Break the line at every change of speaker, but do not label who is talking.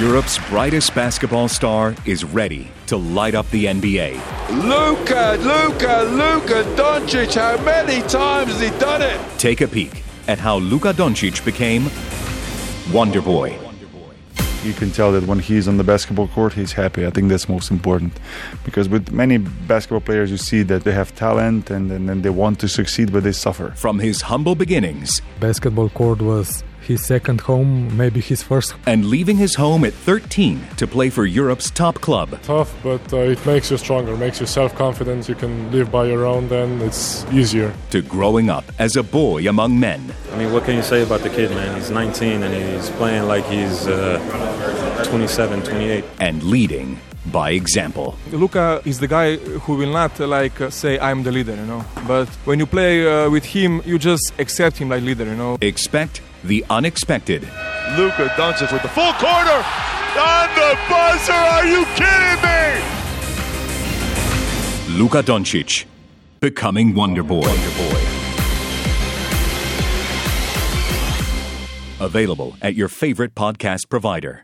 Europe's brightest basketball star is ready to light up the NBA.
Luka, Luka, Luka Doncic, how many times has he done it?
Take a peek at how Luka Doncic became Wonder Boy.
You can tell that when he's on the basketball court, he's happy. I think that's most important. Because with many basketball players, you see that they have talent and, and, and they want to succeed, but they suffer.
From his humble beginnings
Basketball court was his second home, maybe his first.
and leaving his home at 13 to play for Europe's top club,
tough, but uh, it makes you stronger, makes you self-confident. You can live by your own. Then it's easier.
to growing up as a boy among men,
I mean, what can you say about the kid, man? He's 19 and he's playing like he's uh, 27, 28.
and leading by example.
Luca is the guy who will not uh, like uh, say I'm the leader, you know. But when you play uh, with him, you just accept him like leader, you know.
Expect the unexpected
Luka Doncic with the full corner on the buzzer. Are you kidding me?
Luka Doncic becoming Wonder Boy. Available at your favorite podcast provider.